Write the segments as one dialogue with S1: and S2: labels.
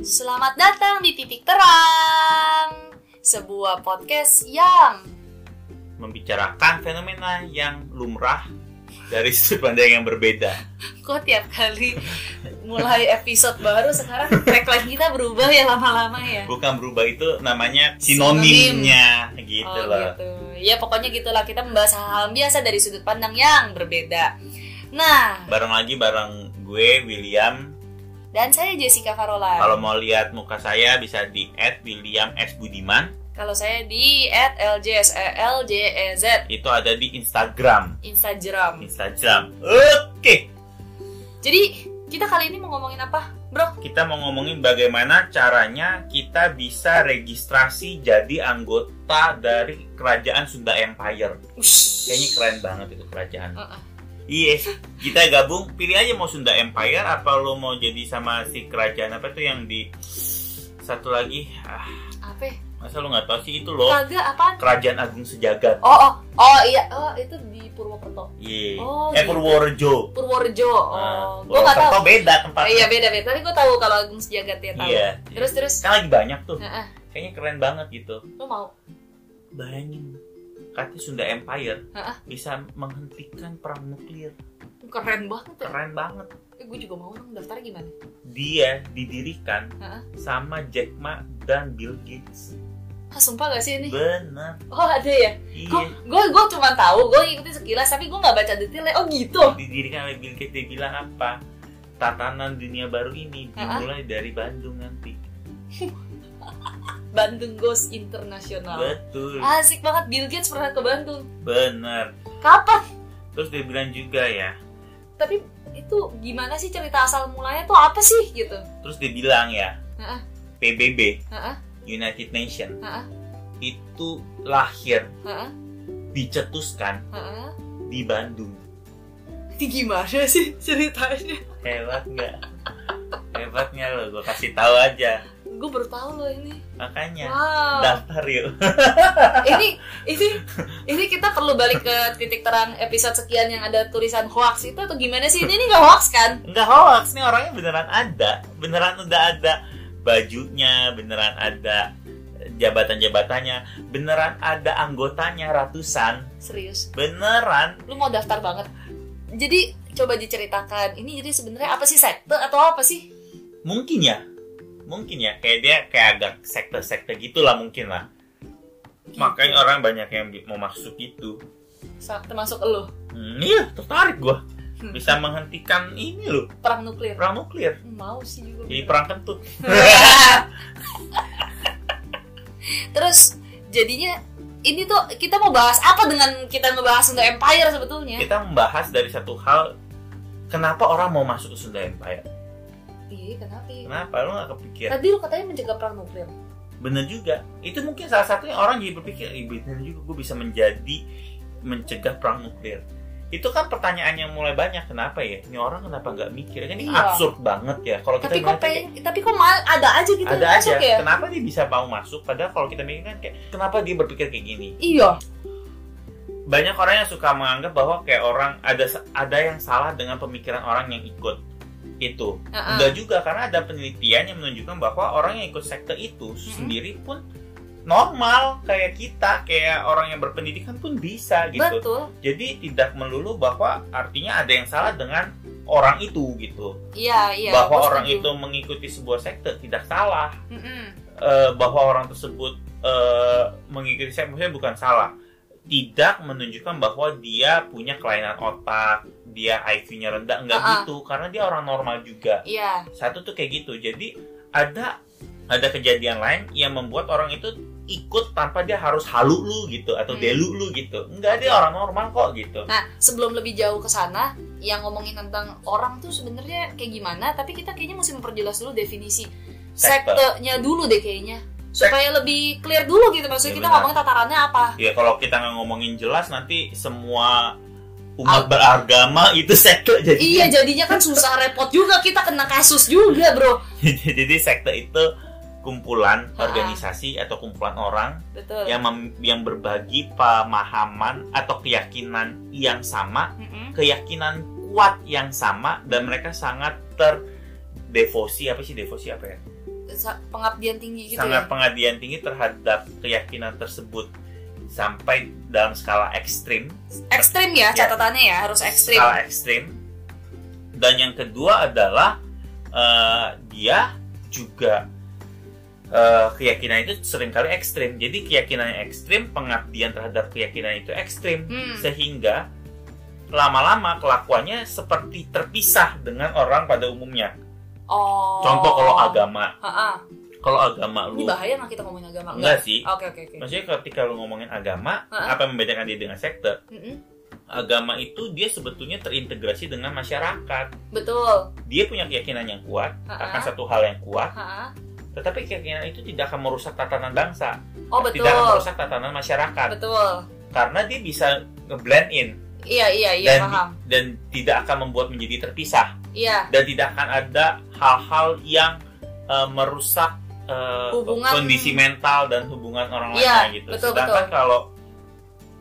S1: Selamat datang di Titik Terang, sebuah podcast yang
S2: membicarakan fenomena yang lumrah dari sudut pandang yang berbeda.
S1: kok tiap kali mulai episode baru sekarang tagline kita berubah ya lama-lama ya.
S2: Bukan berubah itu namanya sinonimnya gitu
S1: oh,
S2: loh.
S1: gitu. Ya pokoknya gitulah kita membahas hal-hal biasa dari sudut pandang yang berbeda. Nah,
S2: Bareng lagi bareng gue William.
S1: dan saya Jessica Carola.
S2: Kalau mau lihat muka saya bisa di @william S Budiman.
S1: Kalau saya di eh, @ljseljez
S2: Itu ada di Instagram.
S1: E Instagram.
S2: Instagram. Oke,
S1: Jadi kita kali ini mau ngomongin apa, bro?
S2: kita mau ngomongin bagaimana caranya kita bisa registrasi jadi anggota dari Kerajaan Sunda Empire. Kayaknya keren banget itu kerajaan.
S1: Heeh.
S2: Iya, kita gabung. Pilih aja mau Sunda Empire apa lo mau jadi sama si kerajaan apa tuh yang di satu lagi. Ah,
S1: Apa? ya?
S2: masa lo nggak tahu sih itu lo
S1: Kagak apaan?
S2: Kerajaan Agung Sejagat.
S1: Oh, oh, oh iya, oh itu di Purwokerto.
S2: Iya.
S1: Oh,
S2: eh
S1: gitu.
S2: Purworejo.
S1: Purworejo. Oh,
S2: Nah,
S1: gue nggak tahu.
S2: Purwokerto beda tempatnya.
S1: Iya beda beda. Tapi gue tahu kalau Agung Sejagat ya tahu.
S2: Iya.
S1: Terus terus.
S2: Kan lagi banyak tuh.
S1: Heeh.
S2: Kayaknya keren banget gitu.
S1: Lu mau?
S2: Bayangin katanya Sunda Empire
S1: Heeh.
S2: bisa menghentikan perang nuklir.
S1: Keren banget. Ya.
S2: Keren banget.
S1: Eh, gue juga mau dong daftarnya gimana?
S2: Dia didirikan
S1: Heeh.
S2: sama Jack Ma dan Bill Gates.
S1: Ah, sumpah gak sih ini?
S2: Bener.
S1: Oh ada ya? Gue
S2: Iya.
S1: gue gue cuma tahu, gue ngikutin sekilas, tapi gue nggak baca detailnya. Oh gitu.
S2: didirikan oleh Bill Gates dia bilang apa tatanan dunia baru ini dimulai dari Bandung nanti
S1: Bandung Ghost Internasional.
S2: betul
S1: Asik banget Bill Gates pernah ke Bandung.
S2: bener
S1: Kapan?
S2: terus dia bilang juga ya
S1: Tapi itu gimana sih cerita asal mulanya tuh apa sih gitu?
S2: terus dia bilang ya
S1: Heeh.
S2: PBB
S1: Heeh.
S2: United Nation
S1: Heeh.
S2: itu lahir
S1: Heeh.
S2: dicetuskan
S1: Heeh.
S2: di Bandung
S1: Ini gimana sih ceritanya?
S2: hebat nggak hebatnya lo gue kasih tahu aja
S1: Gue baru tahu loh ini.
S2: makanya
S1: Wow.
S2: daftar yuk
S1: ini ini ini kita perlu balik ke titik terang episode sekian yang ada tulisan hoax itu atau gimana sih? Ini ini nggak hoax kan?
S2: nggak hoax nih orangnya beneran ada beneran udah ada bajunya beneran ada jabatan-jabatannya beneran ada anggotanya ratusan
S1: Serius.
S2: beneran
S1: Lu mau daftar banget. Jadi coba diceritakan. Ini jadi sebenarnya apa sih sekte atau apa sih?
S2: mungkin ya mungkin ya kayak dia kayak agak sekte-sekte gitulah mungkin lah makanya orang banyak yang bi- mau masuk itu
S1: Sa- termasuk elu
S2: hmm, iya tertarik gua bisa menghentikan ini loh
S1: perang nuklir.
S2: perang nuklir
S1: Mau sih juga.
S2: jadi perang kentut
S1: Terus jadinya ini tuh kita mau bahas apa dengan kita ngebahas untuk empire sebetulnya?
S2: kita membahas dari satu hal kenapa orang mau masuk ke Sunda Empire
S1: Iya, kenapa?
S2: kenapa lu gak kepikiran
S1: Tadi lu katanya mencegah perang nuklir.
S2: Iya. bener juga itu mungkin salah satunya orang jadi berpikir "Ih, bener juga gue bisa menjadi mencegah perang nuklir itu kan pertanyaan yang mulai banyak kenapa ya ini orang kenapa nggak mikir kan ini
S1: Iya.
S2: absurd banget ya kalau kita
S1: tapi kok
S2: melihat kayak-
S1: pengen, tapi kok mal- ada aja gitu
S2: ada
S1: yang
S2: aja
S1: masuk ya?
S2: kenapa dia bisa mau masuk padahal kalau kita mikir kan kayak kenapa dia berpikir kayak gini
S1: Iya.
S2: banyak orang yang suka menganggap bahwa kayak orang ada ada yang salah dengan pemikiran orang yang ikut itu
S1: Heeh.
S2: Enggak juga karena ada penelitian yang menunjukkan bahwa orang yang ikut sekte itu sendiri pun normal kayak kita, kayak orang yang berpendidikan pun bisa gitu.
S1: Betul.
S2: Jadi tidak melulu bahwa artinya ada yang salah dengan orang itu gitu.
S1: Iya, iya.
S2: bahwa
S1: gua
S2: orang
S1: setuju.
S2: itu mengikuti sebuah sekte tidak salah.
S1: Mm-mm.
S2: Eh, bahwa orang tersebut eh, mengikuti sekte maksudnya bukan salah. Tidak menunjukkan bahwa dia punya kelainan otak, dia IQ-nya rendah, enggak
S1: Ah-ah.
S2: gitu. Karena dia orang normal juga
S1: Iya.
S2: satu tuh kayak gitu jadi ada ada kejadian lain yang membuat orang itu ikut tanpa dia harus halu lu gitu atau
S1: Hmm.
S2: delu lu gitu enggak dia orang normal kok gitu
S1: Nah, sebelum lebih jauh ke sana, yang ngomongin tentang orang tuh sebenarnya kayak gimana, tapi kita kayaknya mesti memperjelas dulu definisi
S2: Sekte.
S1: sektenya dulu deh kayaknya.
S2: Sek-
S1: Supaya lebih clear dulu gitu maksudnya
S2: Iya,
S1: kita
S2: benar.
S1: ngomongin tatarannya apa.
S2: ya kalau kita nggak ngomongin jelas nanti semua umat beragama itu sekte jadi
S1: Iya, jadinya kan susah repot juga kita kena kasus juga, Bro.
S2: jadi sekte itu kumpulan
S1: Ha-ha.
S2: organisasi atau kumpulan orang
S1: Betul.
S2: yang mem- yang berbagi pemahaman atau keyakinan yang sama
S1: Mm-mm.
S2: keyakinan kuat yang sama dan mereka sangat terdevosi apa sih devosi apa ya
S1: sa- pengabdian tinggi gitu
S2: sangat
S1: ya
S2: pengabdian tinggi terhadap keyakinan tersebut sampai dalam skala ekstrim
S1: ekstrim ya catatannya ya harus ekstrim
S2: skala ekstrim dan yang kedua adalah eh, dia juga eh, keyakinan itu seringkali ekstrim jadi keyakinannya ekstrim pengabdian terhadap keyakinan itu ekstrim
S1: Hmm.
S2: sehingga lama-lama kelakuannya seperti terpisah dengan orang pada umumnya
S1: oh
S2: contoh kalau agama
S1: Ha-ha.
S2: kalau agama
S1: ini
S2: lu
S1: bahaya nggak Oh. kita ngomongin agama
S2: enggak sih
S1: oke oke oke
S2: maksudnya ketika lu ngomongin agama
S1: Ha-ha.
S2: apa yang membedakan dia dengan sekte
S1: Mm-mm.
S2: agama itu dia sebetulnya terintegrasi dengan masyarakat
S1: betul
S2: dia punya keyakinan yang kuat
S1: Ha-ha.
S2: akan satu hal yang kuat,
S1: Ha-ha.
S2: tetapi keyakinan itu tidak akan merusak tatanan bangsa,
S1: oh betul
S2: tidak kan? akan merusak tatanan masyarakat,
S1: betul
S2: karena dia bisa ngeblend in
S1: iya iya iya
S2: dan
S1: paham
S2: dan tidak akan membuat menjadi terpisah
S1: iya
S2: dan tidak akan ada hal-hal yang eh, merusak eh,
S1: Hubungan-
S2: kondisi mental dan hubungan orang
S1: Iya,
S2: lainnya gitu.
S1: betul,
S2: Sedangkan kalau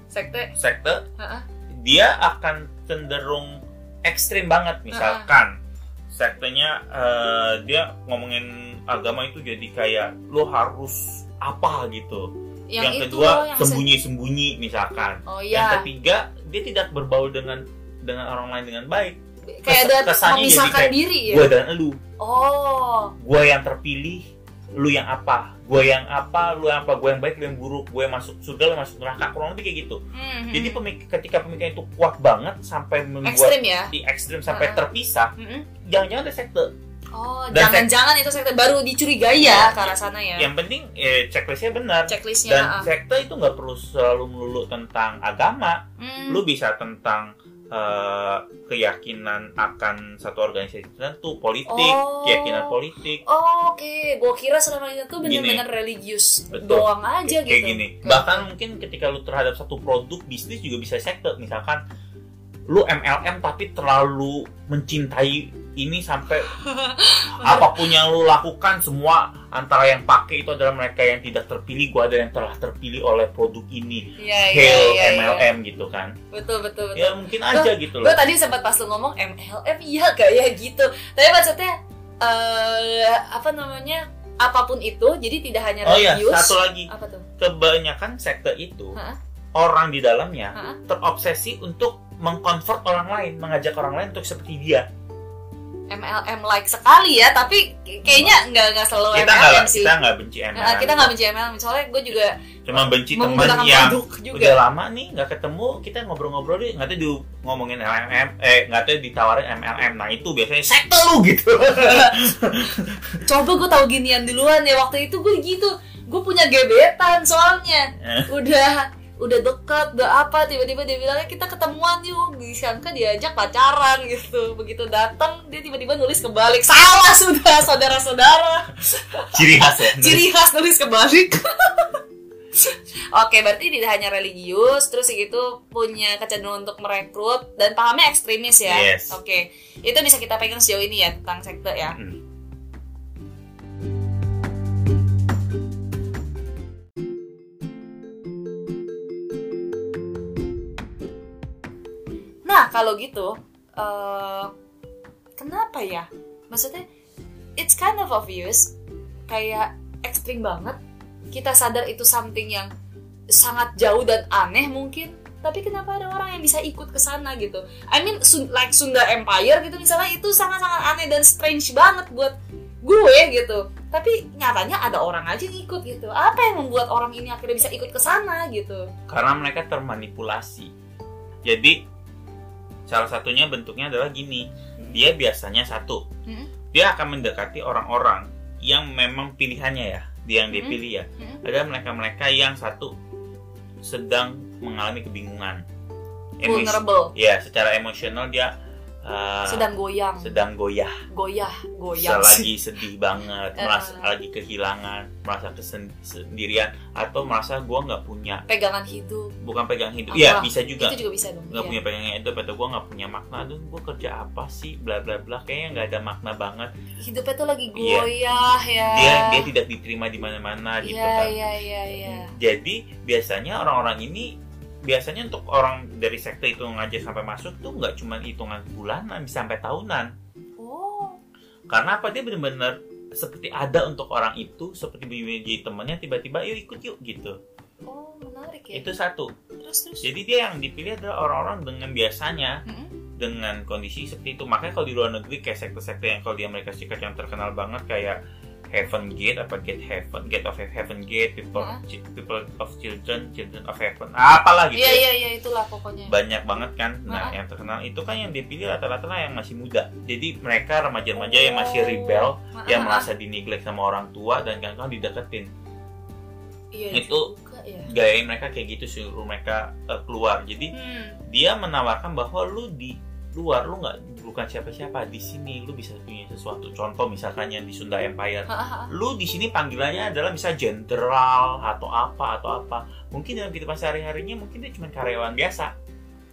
S1: sekte
S2: sekte
S1: Ha-ha.
S2: dia akan cenderung ekstrim banget misalkan sektenya eh, dia ngomongin agama itu jadi kayak lo harus apa gitu
S1: yang, itu loh,
S2: kedua
S1: yang se-
S2: sembunyi sembunyi misalkan
S1: oh
S2: yang
S1: iya
S2: ketiga dia tidak berbaul dengan dengan orang lain dengan baik
S1: kayak ada
S2: kesannya jadi
S1: memisahkan
S2: kayak
S1: diri ya
S2: gua dan lu
S1: oh
S2: gua yang terpilih lu yang apa gua yang apa lu yang apa gua yang baik lu yang buruk gua yang masuk surga lu yang masuk neraka kurang lebih kayak gitu
S1: Mhm.
S2: jadi pemik- ketika pemikiran itu kuat banget sampai membuat
S1: ekstrim ya
S2: di ekstrim sampai
S1: Ah.
S2: terpisah
S1: Mhm.
S2: jangan-jangan ada sekte
S1: oh
S2: Dan
S1: jangan-jangan itu sekte baru dicurigai ya ke arah sana ya
S2: Iya.
S1: Iya, ah.
S2: yang penting eh, checklistnya benar
S1: checklistnya
S2: dan
S1: ha-ha.
S2: sekte itu nggak perlu selalu melulu tentang agama
S1: Hmm.
S2: lu bisa tentang eh, keyakinan akan satu organisasi tertentu politik
S1: Oh.
S2: keyakinan politik
S1: Oh, Oke, gua kira selama ini tuh bener-bener religius
S2: Betul.
S1: doang aja
S2: kayak
S1: gitu.
S2: gini bahkan mungkin ketika lu terhadap satu produk bisnis juga bisa sekte misalkan lu MLM tapi terlalu mencintai ini sampai apapun yang lu lakukan semua antara yang pakai itu adalah mereka yang tidak terpilih gua ada yang telah terpilih oleh produk ini
S1: Iya,
S2: hail
S1: iya, iya, iya.
S2: MLM gitu kan
S1: Betul, betul, betul.
S2: ya mungkin aja gitu
S1: Gue
S2: loh
S1: tadi sempat pas lu ngomong MLM, iya kayak gitu. Tapi maksudnya eh apa namanya? Apapun itu, jadi tidak hanya
S2: oh ya
S1: religius.
S2: satu lagi
S1: Apa tuh?
S2: kebanyakan sekte itu
S1: Ha-ha.
S2: orang di dalamnya
S1: Ha-ha.
S2: terobsesi untuk mengkonvert orang lain mengajak orang lain untuk seperti dia
S1: MLM like sekali ya, tapi kayaknya nggak nggak selalu MLM
S2: kita nggak
S1: sih.
S2: kita nggak benci MLM
S1: Nah, kita nggak benci MLM, soalnya gue juga
S2: cuma benci teman
S1: menggunakan
S2: yang
S1: produk juga.
S2: udah lama nih nggak ketemu kita ngobrol-ngobrol deh nggak tahu di ngomongin MLM eh nggak tahu ditawarin MLM nah itu biasanya sekte lu gitu
S1: Coba gue tahu ginian duluan ya waktu itu gue gitu, gue punya gebetan soalnya.
S2: Eh.
S1: Udah udah dekat, udah apa tiba-tiba dia bilangnya kita ketemuan yuk disangka diajak pacaran gitu begitu datang dia tiba-tiba nulis kebalik salah sudah saudara-saudara
S2: ciri khas ya
S1: ciri khas nulis kebalik oke berarti tidak hanya religius terus gitu punya kecenderungan untuk merekrut dan pahamnya ekstremis ya
S2: Yes.
S1: oke itu bisa kita pegang sejauh ini ya tentang sekte ya
S2: Hmm.
S1: Nah, kalau gitu, eh, kenapa ya? Maksudnya, it's kind of obvious, kayak ekstrim banget. Kita sadar itu something yang sangat jauh dan aneh mungkin, tapi kenapa ada orang yang bisa ikut ke sana gitu? I mean, Sun- like Sunda Empire gitu misalnya itu sangat-sangat aneh dan strange banget buat gue gitu. Tapi nyatanya ada orang aja yang ikut gitu. Apa yang membuat orang ini akhirnya bisa ikut ke sana gitu?
S2: karena mereka termanipulasi jadi salah satunya bentuknya adalah gini dia biasanya satu
S1: Hmm.
S2: dia akan mendekati orang-orang yang memang pilihannya ya dia yang
S1: Hmm.
S2: dipilih ya
S1: Hmm.
S2: ada mereka-mereka yang satu sedang mengalami kebingungan
S1: Oh,
S2: Emosi-
S1: Vulnerable,
S2: ya secara emosional dia uh,
S1: sedang goyang,
S2: sedang goyah
S1: goyah,
S2: bisa
S1: goyang.
S2: lagi sedih banget
S1: Eh,
S2: merasa
S1: eh.
S2: lagi kehilangan merasa kesendirian atau merasa gua nggak punya
S1: pegangan hidup
S2: bukan pegang hidup
S1: Apa?
S2: ya bisa juga
S1: itu juga bisa dong
S2: nggak
S1: iya.
S2: punya pegangan hidup atau gua nggak punya makna aduh gua kerja apa sih bla bla bla kayaknya nggak ada makna banget
S1: hidupnya tuh lagi
S2: Iya.
S1: goyah ya
S2: dia dia tidak diterima di mana mana gitu
S1: iya
S2: kan Hmm.
S1: iya iya iya
S2: Jadi biasanya orang-orang ini biasanya untuk orang dari sekte itu ngajak sampai masuk tuh nggak cuma hitungan bulanan bisa sampai tahunan.
S1: oh
S2: Karena apa dia benar-benar seperti ada untuk orang itu seperti berbagi jadi temannya tiba-tiba yuk ikut yuk gitu
S1: oh menarik ya
S2: itu satu
S1: terus terus
S2: jadi dia yang dipilih adalah orang-orang dengan biasanya
S1: Mm-mm.
S2: dengan kondisi seperti itu makanya kalau di luar negeri kayak sekte-sekte yang kalau di Amerika Serikat yang terkenal banget kayak Heaven Gate apa Gate Heaven Gate of Heaven Gate People
S1: Hah?
S2: Chi- People of Children Children of Heaven apalah gitu
S1: iya
S2: ya.
S1: iya iya itulah pokoknya
S2: banyak banget kan nah
S1: Hah?
S2: yang terkenal itu kan yang dipilih rata-rata lah yang masih muda jadi mereka remaja-remaja yang masih
S1: Oh.
S2: rebel
S1: Maaf,
S2: yang
S1: maaf.
S2: merasa dineglect sama orang tua dan kadang-kadang dideketin
S1: iya
S2: itu-
S1: juga ya
S2: gayain mereka kayak gitu suruh mereka eh, keluar jadi
S1: hmm.
S2: dia menawarkan bahwa lu di luar lu nggak bukan siapa-siapa di sini lu bisa punya sesuatu contoh misalkan yang di Sunda Empire
S1: Ha, ha, ha.
S2: lu di sini panggilannya adalah misal jenderal atau apa atau apa mungkin dalam kehidupan sehari harinya mungkin dia cuma karyawan biasa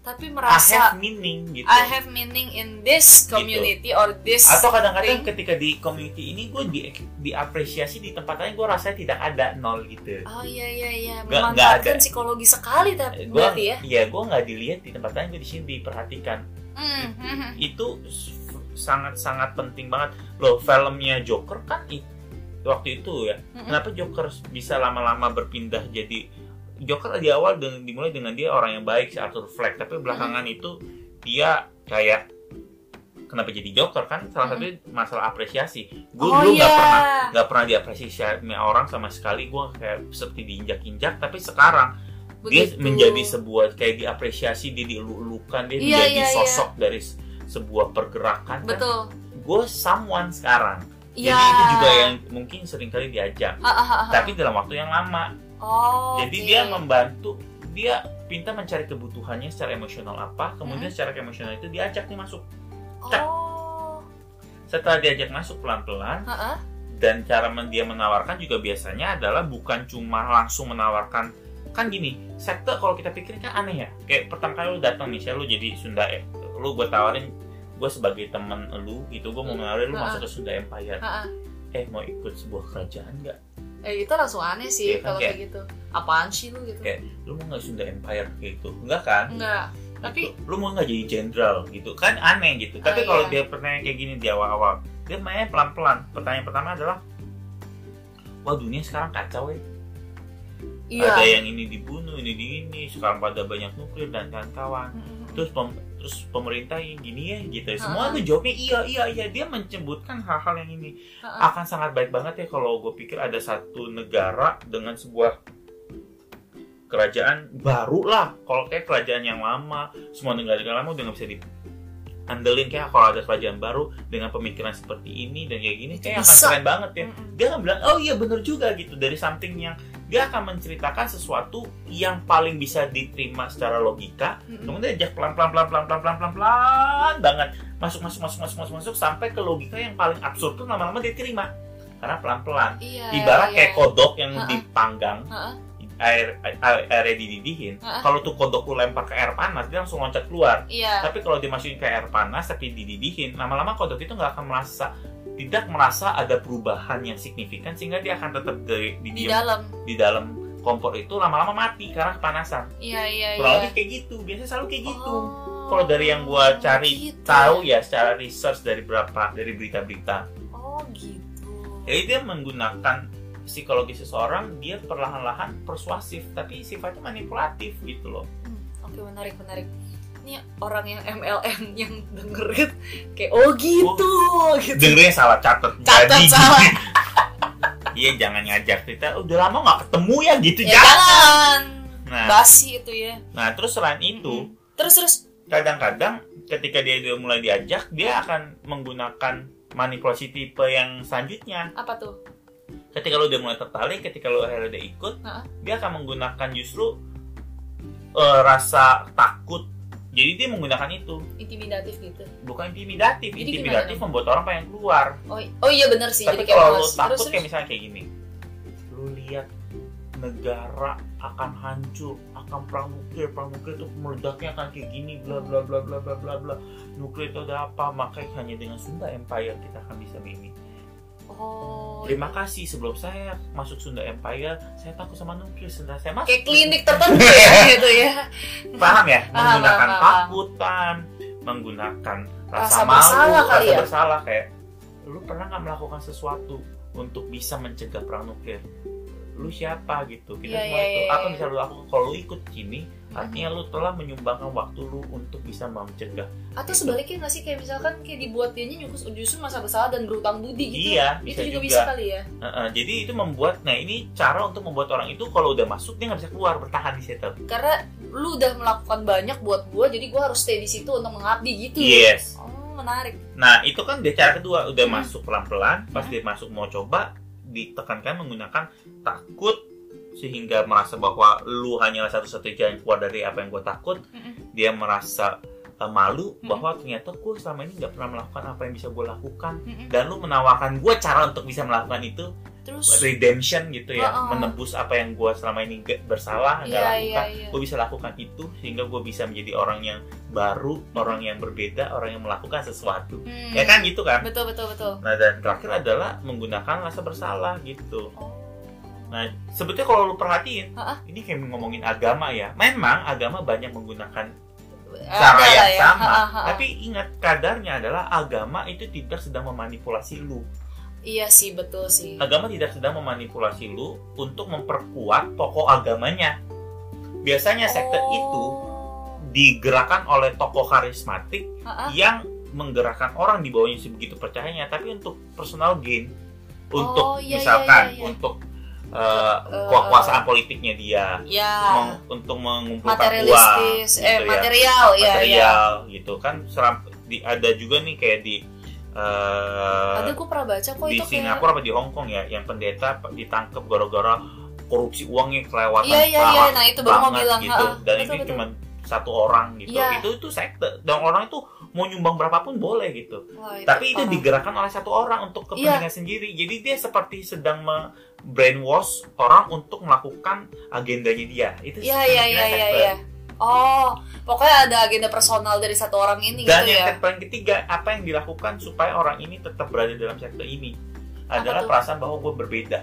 S1: tapi
S2: I
S1: merasa
S2: have meaning gitu
S1: I have meaning in this community or this
S2: atau kadang-kadang
S1: thing.
S2: ketika di community ini gue di, diapresiasi di tempat lain gue rasanya tidak ada nol gitu
S1: Oh iya iya iya
S2: Nggak- nggak
S1: memanfaatkan
S2: ada.
S1: psikologi sekali tapi
S2: gue
S1: berarti ya.
S2: iya gue nggak dilihat di tempat lain gue di sini diperhatikan
S1: Hmm, hmm, hmm.
S2: itu sangat-sangat penting banget loh filmnya Joker kan i- waktu itu ya
S1: Mm-mm.
S2: kenapa Joker bisa lama-lama berpindah jadi Joker di awal dengan dimulai dengan dia orang yang baik si Arthur Fleck tapi belakangan itu dia kayak kenapa jadi Joker kan salah
S1: Mm-mm.
S2: satunya masalah apresiasi gue
S1: Oh
S2: dulu nggak
S1: iya.
S2: pernah nggak pernah diapresiasi sama orang sama sekali gue kayak seperti diinjak-injak tapi sekarang
S1: Begitu.
S2: dia menjadi sebuah kayak diapresiasi dia dielulukan
S1: Iya,
S2: dia menjadi
S1: iya,
S2: sosok dari se- sebuah pergerakan
S1: betul.
S2: gue someone sekarang
S1: Iya.
S2: jadi itu juga yang mungkin seringkali diajak
S1: Ha, ha, ha, ha.
S2: tapi dalam waktu yang lama
S1: Oh.
S2: jadi
S1: oke.
S2: dia membantu dia pintar mencari kebutuhannya secara emosional apa kemudian secara emosional itu diajak nih masuk
S1: Oh.
S2: setelah diajak masuk pelan-pelan
S1: Ha, ha.
S2: dan cara men- dia menawarkan juga biasanya adalah bukan cuma langsung menawarkan kan gini sekte kalau kita pikirin kan aneh ya kayak pertama kali lu datang nih saya lu jadi Sunda eh, lu gue tawarin gue sebagai temen lu gitu gue mau
S1: Hmm.
S2: menawarin lu
S1: Ha-ha.
S2: masuk ke Sunda Empire
S1: Ha, ha.
S2: eh mau ikut sebuah kerajaan nggak
S1: Eh, itu langsung aneh
S2: Iya
S1: sih
S2: kan,
S1: kalau
S2: kayak-
S1: kayak gitu. Apaan sih lu gitu?
S2: Kayak- lu mau nggak Sunda Empire gitu enggak kan
S1: Enggak. Tapi
S2: Gitu. lu mau nggak jadi jenderal gitu kan aneh gitu
S1: Oh,
S2: tapi kalau
S1: iya.
S2: dia pertanyaan kayak gini di awal-awal dia mainnya pelan-pelan pertanyaan pertama adalah wah dunia sekarang kacau ya ada
S1: iya.
S2: yang ini dibunuh ini di ini sekarang pada banyak nuklir dan kawan-kawan
S1: Mm-mm.
S2: terus pem- terus pemerintah yang gini ya gitu
S1: Ah.
S2: semua tuh jawabnya iya iya iya dia menyebutkan hal-hal yang ini
S1: Ah,
S2: akan sangat baik banget ya kalau gue pikir ada satu negara dengan sebuah kerajaan baru lah kalau kayak kerajaan yang lama semua negara-negara lama udah nggak bisa di andelin kayak kalau ada kerajaan baru dengan pemikiran seperti ini dan kayak gini
S1: Itu
S2: kayak
S1: bisa.
S2: akan keren banget ya
S1: Mm-mm.
S2: dia akan bilang oh iya bener juga gitu dari something yang dia akan menceritakan sesuatu yang paling bisa diterima secara logika
S1: Mm-mm.
S2: kemudian dia ajak pelan pelan pelan pelan pelan pelan pelan pelan banget masuk masuk masuk masuk masuk masuk sampai ke logika yang paling absurd pun lama lama dia terima karena pelan pelan
S1: Iya.
S2: ibarat
S1: iya.
S2: kayak kodok yang
S1: Ha-ha.
S2: dipanggang
S1: Ha-ha.
S2: air air- airnya dididihin
S1: Ha-ha.
S2: kalau tuh kodok lu lempar ke air panas dia langsung loncat keluar
S1: Iya.
S2: tapi kalau dimasukin ke air panas tapi dididihin, lama-lama kodok itu nggak akan merasa tidak merasa ada perubahan yang signifikan sehingga dia akan tetap di, di,
S1: Di
S2: diam-
S1: dalam.
S2: di dalam kompor itu lama-lama mati karena kepanasan.
S1: Iya iya iya.
S2: Kurang lebih kayak gitu, biasanya selalu kayak gitu.
S1: Oh,
S2: Kalau dari yang gua cari
S1: gitu.
S2: tahu ya secara research dari berapa dari berita-berita,
S1: Oh gitu.
S2: jadi dia menggunakan psikologi seseorang dia perlahan-lahan persuasif tapi sifatnya manipulatif gitu loh.
S1: Hmm, Oke menarik menarik. Ini orang yang MLM yang dengerin kayak oh gitu gitu.
S2: Dengernya salah catet.
S1: Catat
S2: Jadi-
S1: salah.
S2: Iya jangan ngajak cerita udah lama nggak ketemu ya gitu
S1: Ya,
S2: jangan.
S1: jangan.
S2: Nah,
S1: Basi itu ya.
S2: nah terus selain itu
S1: Mm-mm. Terus terus.
S2: kadang-kadang ketika dia udah mulai diajak dia akan menggunakan manipulasi tipe yang selanjutnya.
S1: Apa tuh?
S2: Ketika lu udah mulai tertarik, ketika lu akhirnya udah ikut,
S1: Ha-ha.
S2: dia akan menggunakan justru eh, rasa takut. Jadi dia menggunakan itu
S1: Intimidatif gitu.
S2: bukan intimidatif.
S1: Jadi
S2: intimidatif
S1: gimana?
S2: membuat orang pengen keluar.
S1: Oh, i- oh iya benar sih.
S2: Tapi
S1: jadi kayak
S2: kalau lu
S1: males.
S2: takut
S1: terus,
S2: kayak
S1: terus.
S2: misalnya kayak gini, lu lihat negara akan hancur, akan perang nuklir, perang nuklir itu meledaknya akan kayak gini, bla bla bla bla bla bla bla. Nuklir itu ada apa? Makanya hanya dengan Sunda Empire kita akan bisa ini.
S1: Oh.
S2: Terima kasih sebelum saya masuk Sunda Empire, saya takut sama nuklir. Setelah saya masuk,
S1: Kayak klinik tertentu ya gitu ya.
S2: paham ya?
S1: Paham,
S2: Menggunakan
S1: paham, paham.
S2: takutan, menggunakan rasa,
S1: Rasa
S2: malu,
S1: bersalah kali
S2: rasa
S1: ya?
S2: bersalah kayak lu pernah nggak melakukan sesuatu untuk bisa mencegah perang nuklir lu siapa gitu kita
S1: Iya, iya,
S2: semua itu
S1: iya, Mhm.
S2: apa
S1: iya.
S2: misalnya lu lakukan kalau lu ikut sini artinya lu telah menyumbangkan waktu lu untuk bisa mencegah
S1: atau sebaliknya nggak sih kayak misalkan kayak dibuat dianya nyukus justru masa bersalah dan berutang budi gitu itu
S2: iya bisa
S1: juga,
S2: juga,
S1: bisa kali ya
S2: Heeh, jadi itu membuat nah ini cara untuk membuat orang itu kalau udah masuk dia nggak bisa keluar bertahan di situ
S1: karena lu udah melakukan banyak buat gua jadi gua harus stay di situ untuk mengabdi gitu
S2: yes
S1: oh menarik
S2: Nah, itu kan dia cara kedua udah
S1: Hmm.
S2: masuk pelan-pelan, pas
S1: Hmm.
S2: dia masuk mau coba ditekankan menggunakan takut sehingga merasa bahwa lu hanyalah satu-satunya jalan keluar dari apa yang gue takut.
S1: Mm-mm.
S2: Dia merasa eh, malu
S1: Hmm.
S2: bahwa ternyata gue selama ini nggak pernah melakukan apa yang bisa gue lakukan
S1: Mm-mm.
S2: dan lu menawarkan gue cara untuk bisa melakukan itu
S1: terus
S2: redemption gitu ya
S1: Oh, oh.
S2: menebus apa yang gue selama ini nggak bersalah nggak
S1: iya
S2: lakukan
S1: iya iya
S2: gue bisa lakukan itu sehingga gue bisa menjadi orang yang baru orang yang berbeda orang yang melakukan sesuatu
S1: Hmm.
S2: ya kan gitu kan
S1: betul betul betul
S2: Nah dan terakhir adalah menggunakan rasa bersalah gitu.
S1: Oh.
S2: Nah sebetulnya kalau lu perhatiin,
S1: Ha-ha.
S2: ini kayak ngomongin agama ya. Memang agama banyak menggunakan cara
S1: Ada lah
S2: yang
S1: ya.
S2: sama,
S1: Ha, ha, ha.
S2: tapi ingat kadarnya adalah agama itu tidak sedang memanipulasi lu.
S1: iya sih betul sih
S2: Agama tidak sedang memanipulasi lu untuk memperkuat pokok agamanya. Biasanya sekte
S1: Oh.
S2: itu digerakkan oleh tokoh karismatik
S1: Ha, ha.
S2: yang menggerakkan orang di bawahnya sebegitu percayanya, tapi untuk personal gain,
S1: Oh,
S2: untuk
S1: iya, iya,
S2: misalkan
S1: iya, iya.
S2: untuk uh,
S1: eh,
S2: kekuasaan politiknya dia,
S1: ya
S2: meng- untuk mengumpulkan uang,
S1: materialistis eh
S2: gitu ya.
S1: material ya ya
S2: material, gitu kan. Seram, di, ada juga nih kayak di uh,
S1: ada gue pernah baca kok
S2: di
S1: itu kayak
S2: Singapura apa di Hong Kong ya, yang pendeta ditangkap gara-gara korupsi uangnya kelewatan
S1: iya iya iya
S2: parah
S1: nah itu baru mau
S2: banget
S1: bilang
S2: gitu.
S1: ha, ha.
S2: Dan
S1: Betul,
S2: ini
S1: betul.
S2: cuma satu orang gitu.
S1: Iya.
S2: Itu itu sekte. Dan orang itu mau nyumbang berapapun boleh gitu.
S1: Wah,
S2: Tapi itu
S1: parah.
S2: digerakkan oleh satu orang untuk
S1: Iya.
S2: kepentingan sendiri. Jadi dia seperti sedang me brainwash orang untuk melakukan agendanya dia.
S1: Iya
S2: Itu
S1: iya iya
S2: kemungkinan
S1: iya
S2: sekte.
S1: iya. Oh, pokoknya ada agenda personal dari satu orang ini
S2: Dan
S1: gitu
S2: yang
S1: ya.
S2: ter- paling ketiga, apa yang dilakukan supaya orang ini tetap berada dalam sekte ini
S1: Apa
S2: adalah
S1: tuh?
S2: perasaan bahwa gue berbeda.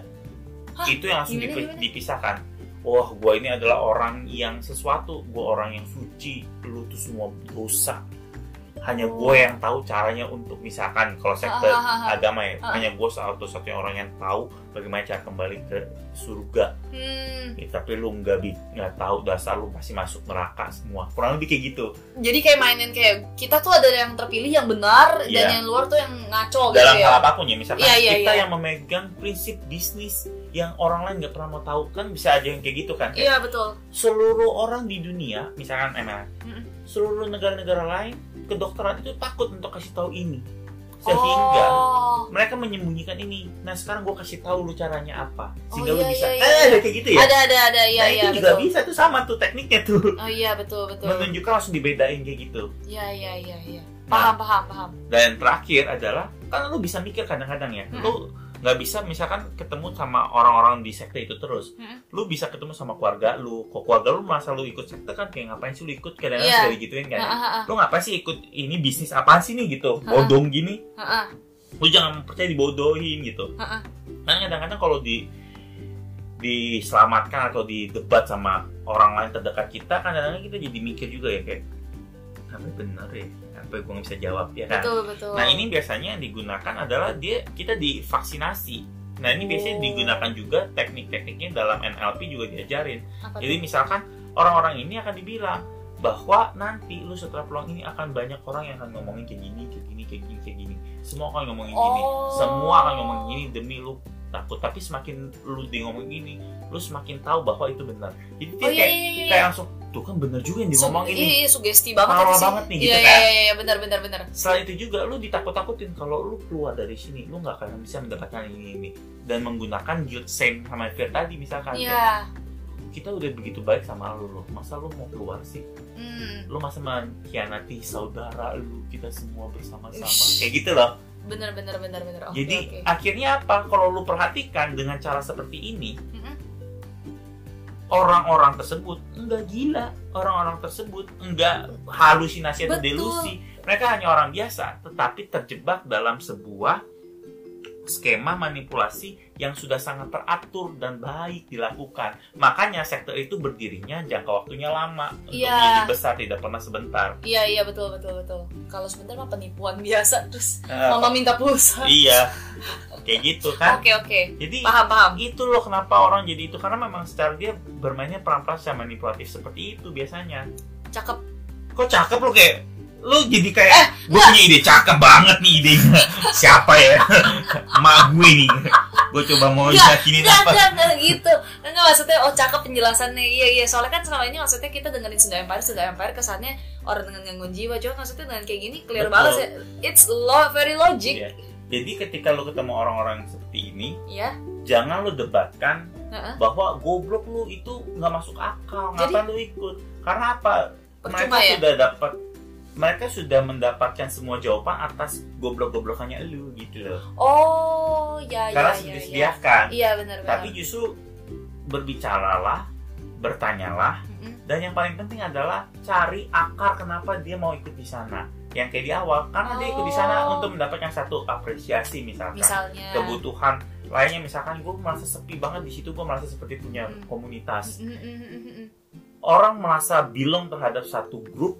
S1: Hah?
S2: Itu yang langsung
S1: Gimana,
S2: dipi-
S1: gimana?
S2: dipisahkan. Wah, gue ini adalah orang yang sesuatu. Gue orang yang suci. Lu tuh semua dosa. Hanya
S1: Oh.
S2: gue yang tahu caranya untuk misalkan kalau sekte
S1: Ah, ah, ah, ah.
S2: agama ya.
S1: Ah.
S2: Hanya gue satu-satunya orang yang tahu bagaimana cara kembali ke surga.
S1: Hmm,
S2: Ya, tapi lu nggak bi- nggak tahu dasar lu pasti masuk neraka semua. Kurang lebih kayak gitu.
S1: jadi kayak mainin kayak kita tuh ada yang terpilih yang benar dan
S2: Iya.
S1: yang luar tuh yang ngaco
S2: dalam
S1: gitu ya.
S2: hal apapun ya misalkan
S1: Iya, iya,
S2: kita
S1: iya.
S2: yang memegang prinsip bisnis yang orang lain nggak pernah mau tahu kan bisa aja yang kayak gitu kan
S1: Iya betul.
S2: seluruh orang di dunia misalkan MLM
S1: Mm-mm.
S2: seluruh negara-negara lain kedokteran itu takut untuk kasih tahu ini sehingga
S1: Oh,
S2: mereka menyembunyikan ini nah sekarang gue kasih tahu lu caranya apa sehingga
S1: Oh,
S2: lu
S1: iya,
S2: bisa
S1: iya,
S2: eh,
S1: iya.
S2: ada kayak gitu ya
S1: ada ada ada iya
S2: nah
S1: iya
S2: itu juga
S1: betul.
S2: bisa tuh sama tuh tekniknya tuh
S1: Oh iya betul betul.
S2: menunjukkan langsung dibedain kayak gitu
S1: Iya iya iya iya.
S2: Nah.
S1: Paham paham paham.
S2: Dan yang terakhir adalah kan lu bisa mikir kadang-kadang ya,
S1: Hmm.
S2: lu nggak bisa misalkan ketemu sama orang-orang di sekte itu terus,
S1: Hmm.
S2: lu bisa ketemu sama keluarga lu, kok keluarga lu merasa lu ikut sekte kan kayak ngapain sih lu ikut kadang-kadang
S1: Iya.
S2: suka digituin kan,
S1: Ah, ah, ah,
S2: lu ngapain sih ikut ini bisnis apaan sih nih gitu, bodong gini,
S1: ah, ah.
S2: lu jangan percaya dibodohin gitu.
S1: Ha-ha.
S2: Kan kadang-kadang kalau di diselamatkan atau didebat sama orang lain terdekat kita, kan kadang-kadang kita jadi mikir juga ya kayak apa bener ya, apa gue nggak bisa jawab ya kan?
S1: Betul betul.
S2: Nah ini biasanya yang digunakan adalah dia kita divaksinasi. Nah ini biasanya
S1: Oh.
S2: digunakan juga teknik-tekniknya dalam NLP juga diajarin.
S1: Apa
S2: Jadi
S1: tuh?
S2: misalkan orang-orang ini akan dibilang bahwa nanti lu setelah pulang ini akan banyak orang yang akan ngomongin kayak gini, kayak gini, kayak gini, kayak gini. Semua akan ngomongin gini,
S1: Oh.
S2: semua akan ngomongin gini demi lu takut. Tapi semakin lu di ngomong gini, lu semakin tahu bahwa itu benar. Jadi dia
S1: Oh iya
S2: kayak,
S1: iya iya.
S2: kayak langsung tuh kan bener juga yang
S1: Su-
S2: diomongin
S1: iya,
S2: nih.
S1: iya, sugesti banget
S2: Parah
S1: itu sih.
S2: banget nih, gitu
S1: Iya
S2: kan.
S1: iya iya benar benar benar.
S2: Selain itu juga lu ditakut-takutin kalau lu keluar dari sini lu nggak akan bisa mendapatkan ini ini dan menggunakan guilt shame sama fear tadi misalkan
S1: Iya.
S2: kita udah begitu baik sama lu lu. masa lu mau keluar sih
S1: Hmm.
S2: lu masa mengkhianati saudara lu kita semua bersama-sama
S1: Ush.
S2: kayak gitu loh
S1: bener bener bener bener Oke,
S2: jadi
S1: oke.
S2: akhirnya apa kalau lu perhatikan dengan cara seperti ini
S1: Mm-mm.
S2: orang-orang tersebut enggak gila orang-orang tersebut enggak halusinasi atau
S1: Betul.
S2: delusi mereka hanya orang biasa tetapi terjebak dalam sebuah skema manipulasi yang sudah sangat teratur dan baik dilakukan. Makanya sektor itu berdirinya jangka waktunya lama untuk
S1: Iya.
S2: menjadi besar tidak pernah sebentar.
S1: Iya iya betul betul betul. Kalau sebentar mah penipuan biasa terus
S2: Eh,
S1: mama minta pulsa.
S2: iya, kayak gitu kan.
S1: Oke oke.
S2: Jadi
S1: Paham paham.
S2: itu loh kenapa orang jadi itu karena memang secara dia bermainnya peran-peran secara manipulatif seperti itu biasanya.
S1: Cakep.
S2: Kok cakep lo kayak lu jadi kayak
S1: Eh,
S2: gue punya ide cakep banget nih idenya siapa ya emak gue nih gue coba mau
S1: Enggak,
S2: yakinin
S1: Enggak,
S2: apa
S1: enggak, enggak gitu. Enggak maksudnya oh cakep penjelasannya. Iya, iya. Soalnya kan selama ini maksudnya kita dengerin Sunda Empire, Sunda Empire kesannya orang dengan gangguan jiwa. Cuma maksudnya dengan kayak gini clear
S2: Betul.
S1: banget sih. It's lo very logic.
S2: Iya. Jadi ketika lu ketemu orang-orang seperti ini,
S1: Ya.
S2: jangan lu debatkan
S1: Iya, Heeh.
S2: bahwa goblok lu itu nggak masuk akal,
S1: Jadi-
S2: ngapain lu ikut? Karena apa? Mereka
S1: Percuma ya.
S2: sudah dapat mereka sudah mendapatkan semua jawaban atas goblok-goblokannya lu gitu loh.
S1: Oh, ya ya
S2: Karena
S1: ya.
S2: sudah
S1: Iya,
S2: disediakan.
S1: iya benar benar.
S2: Tapi justru berbicaralah, bertanyalah,
S1: Mm-mm.
S2: dan yang paling penting adalah cari akar kenapa dia mau ikut di sana. Yang kayak di awal, karena dia ikut di sana
S1: Oh.
S2: untuk mendapatkan satu apresiasi misalkan.
S1: misalnya
S2: kebutuhan lainnya misalkan gue merasa sepi banget di situ gue merasa seperti punya
S1: Hmm.
S2: komunitas
S1: Mm, mm, mm, mm, mm.
S2: orang merasa belong terhadap satu grup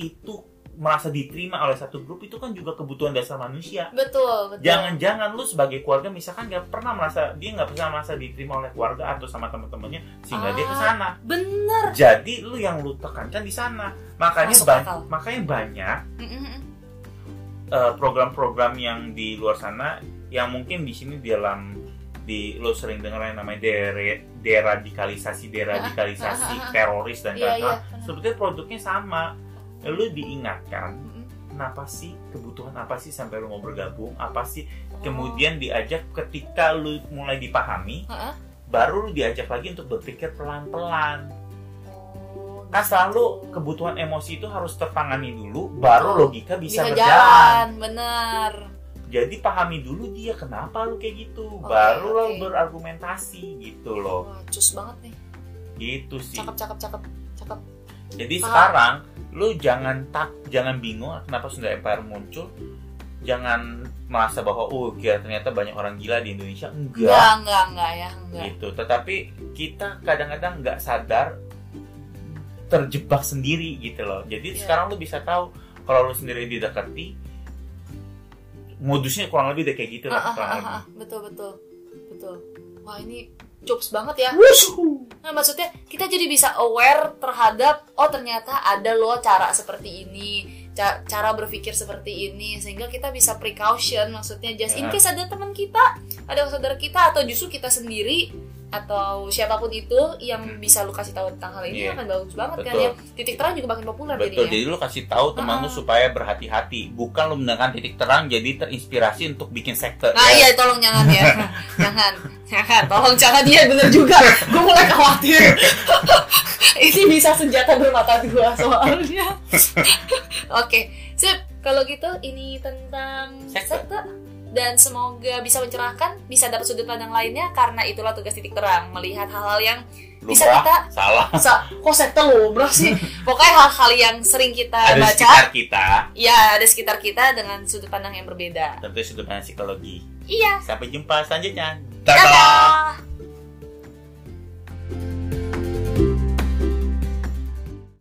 S2: itu merasa diterima oleh satu grup itu kan juga kebutuhan dasar manusia
S1: Betul, betul.
S2: jangan-jangan lu sebagai keluarga misalkan gak pernah merasa dia nggak pernah merasa diterima oleh keluarga atau sama teman-temannya sehingga dia ke
S1: Ah.
S2: sana
S1: Bener.
S2: jadi lu yang lu tekankan di sana makanya
S1: Masuk
S2: ba-
S1: akal.
S2: makanya banyak
S1: Mm, mm, mm.
S2: eh, program-program yang di luar sana yang mungkin di sini di dalam di lo sering dengar yang namanya dere- deradikalisasi
S1: Ah,
S2: deradikalisasi teroris
S1: Iya,
S2: dan
S1: iya.
S2: lain-lain sebetulnya produknya sama lu diingatkan
S1: Mm, mm.
S2: kenapa sih kebutuhan apa sih sampai lu mau bergabung apa sih
S1: Oh.
S2: kemudian diajak ketika lu mulai dipahami
S1: Ha-ha.
S2: baru lu diajak lagi untuk berpikir pelan-pelan
S1: Oh,
S2: kan selalu
S1: gitu.
S2: kebutuhan emosi itu harus tertangani dulu baru logika bisa,
S1: bisa
S2: berjalan.
S1: jalan, bener.
S2: Jadi pahami dulu dia kenapa lu kayak gitu,
S1: Oke,
S2: baru lo
S1: oke.
S2: berargumentasi gitu loh.
S1: Wah, cus banget nih.
S2: Gitu sih.
S1: Cakep, cakep, cakep, cakep.
S2: Jadi
S1: paham.
S2: sekarang lu jangan tak jangan bingung kenapa Sunda Empire muncul. Jangan merasa bahwa oh gila, ternyata banyak orang gila di Indonesia. Enggak
S1: Enggak, enggak, enggak ya, enggak.
S2: gitu. Tetapi kita kadang-kadang nggak sadar terjebak sendiri gitu loh. Jadi
S1: Iya.
S2: sekarang lu bisa tahu kalau lu sendiri didekati modusnya kurang lebih deh kayak gitu
S1: Ah,
S2: lah
S1: ah,
S2: kurang
S1: ah,
S2: lebih.
S1: ah, betul, betul, betul. Wah ini cups banget ya.
S2: Wusuh.
S1: Nah, maksudnya kita jadi bisa aware terhadap oh ternyata ada loh cara seperti ini, ca- cara berpikir seperti ini sehingga kita bisa precaution maksudnya just in
S2: Ya.
S1: case ada teman kita, ada saudara kita atau justru kita sendiri atau siapapun itu yang
S2: Hmm.
S1: bisa lu kasih tahu tentang hal ini
S2: Iya.
S1: akan bagus banget kan
S2: Betul.
S1: ya. Titik terang juga makin populer
S2: Betul,
S1: jadinya.
S2: jadi lu kasih tahu teman
S1: ya?
S2: lu
S1: Ah.
S2: supaya berhati-hati. Bukan lu mendengarkan titik terang jadi terinspirasi untuk bikin sekte.
S1: Nah
S2: ya.
S1: iya tolong jangan ya Jangan Jangan Tolong jangan dia bener juga Gue mulai khawatir Ini bisa senjata bermata dua soalnya Oke Sip Kalau gitu ini tentang
S2: Sekte.
S1: Dan semoga bisa mencerahkan Bisa dapat sudut pandang lainnya Karena itulah tugas titik terang Melihat hal-hal yang bisa
S2: Lumrah,
S1: kita-
S2: salah
S1: sa- Kok sekte lumrah sih Pokoknya hal-hal yang sering kita
S2: ada di
S1: baca
S2: sekitar kita.
S1: Ya ada sekitar kita dengan sudut pandang yang berbeda
S2: Tentu sudut pandang psikologi.
S1: Iya
S2: Sampai jumpa selanjutnya. Dadah.
S1: Dadah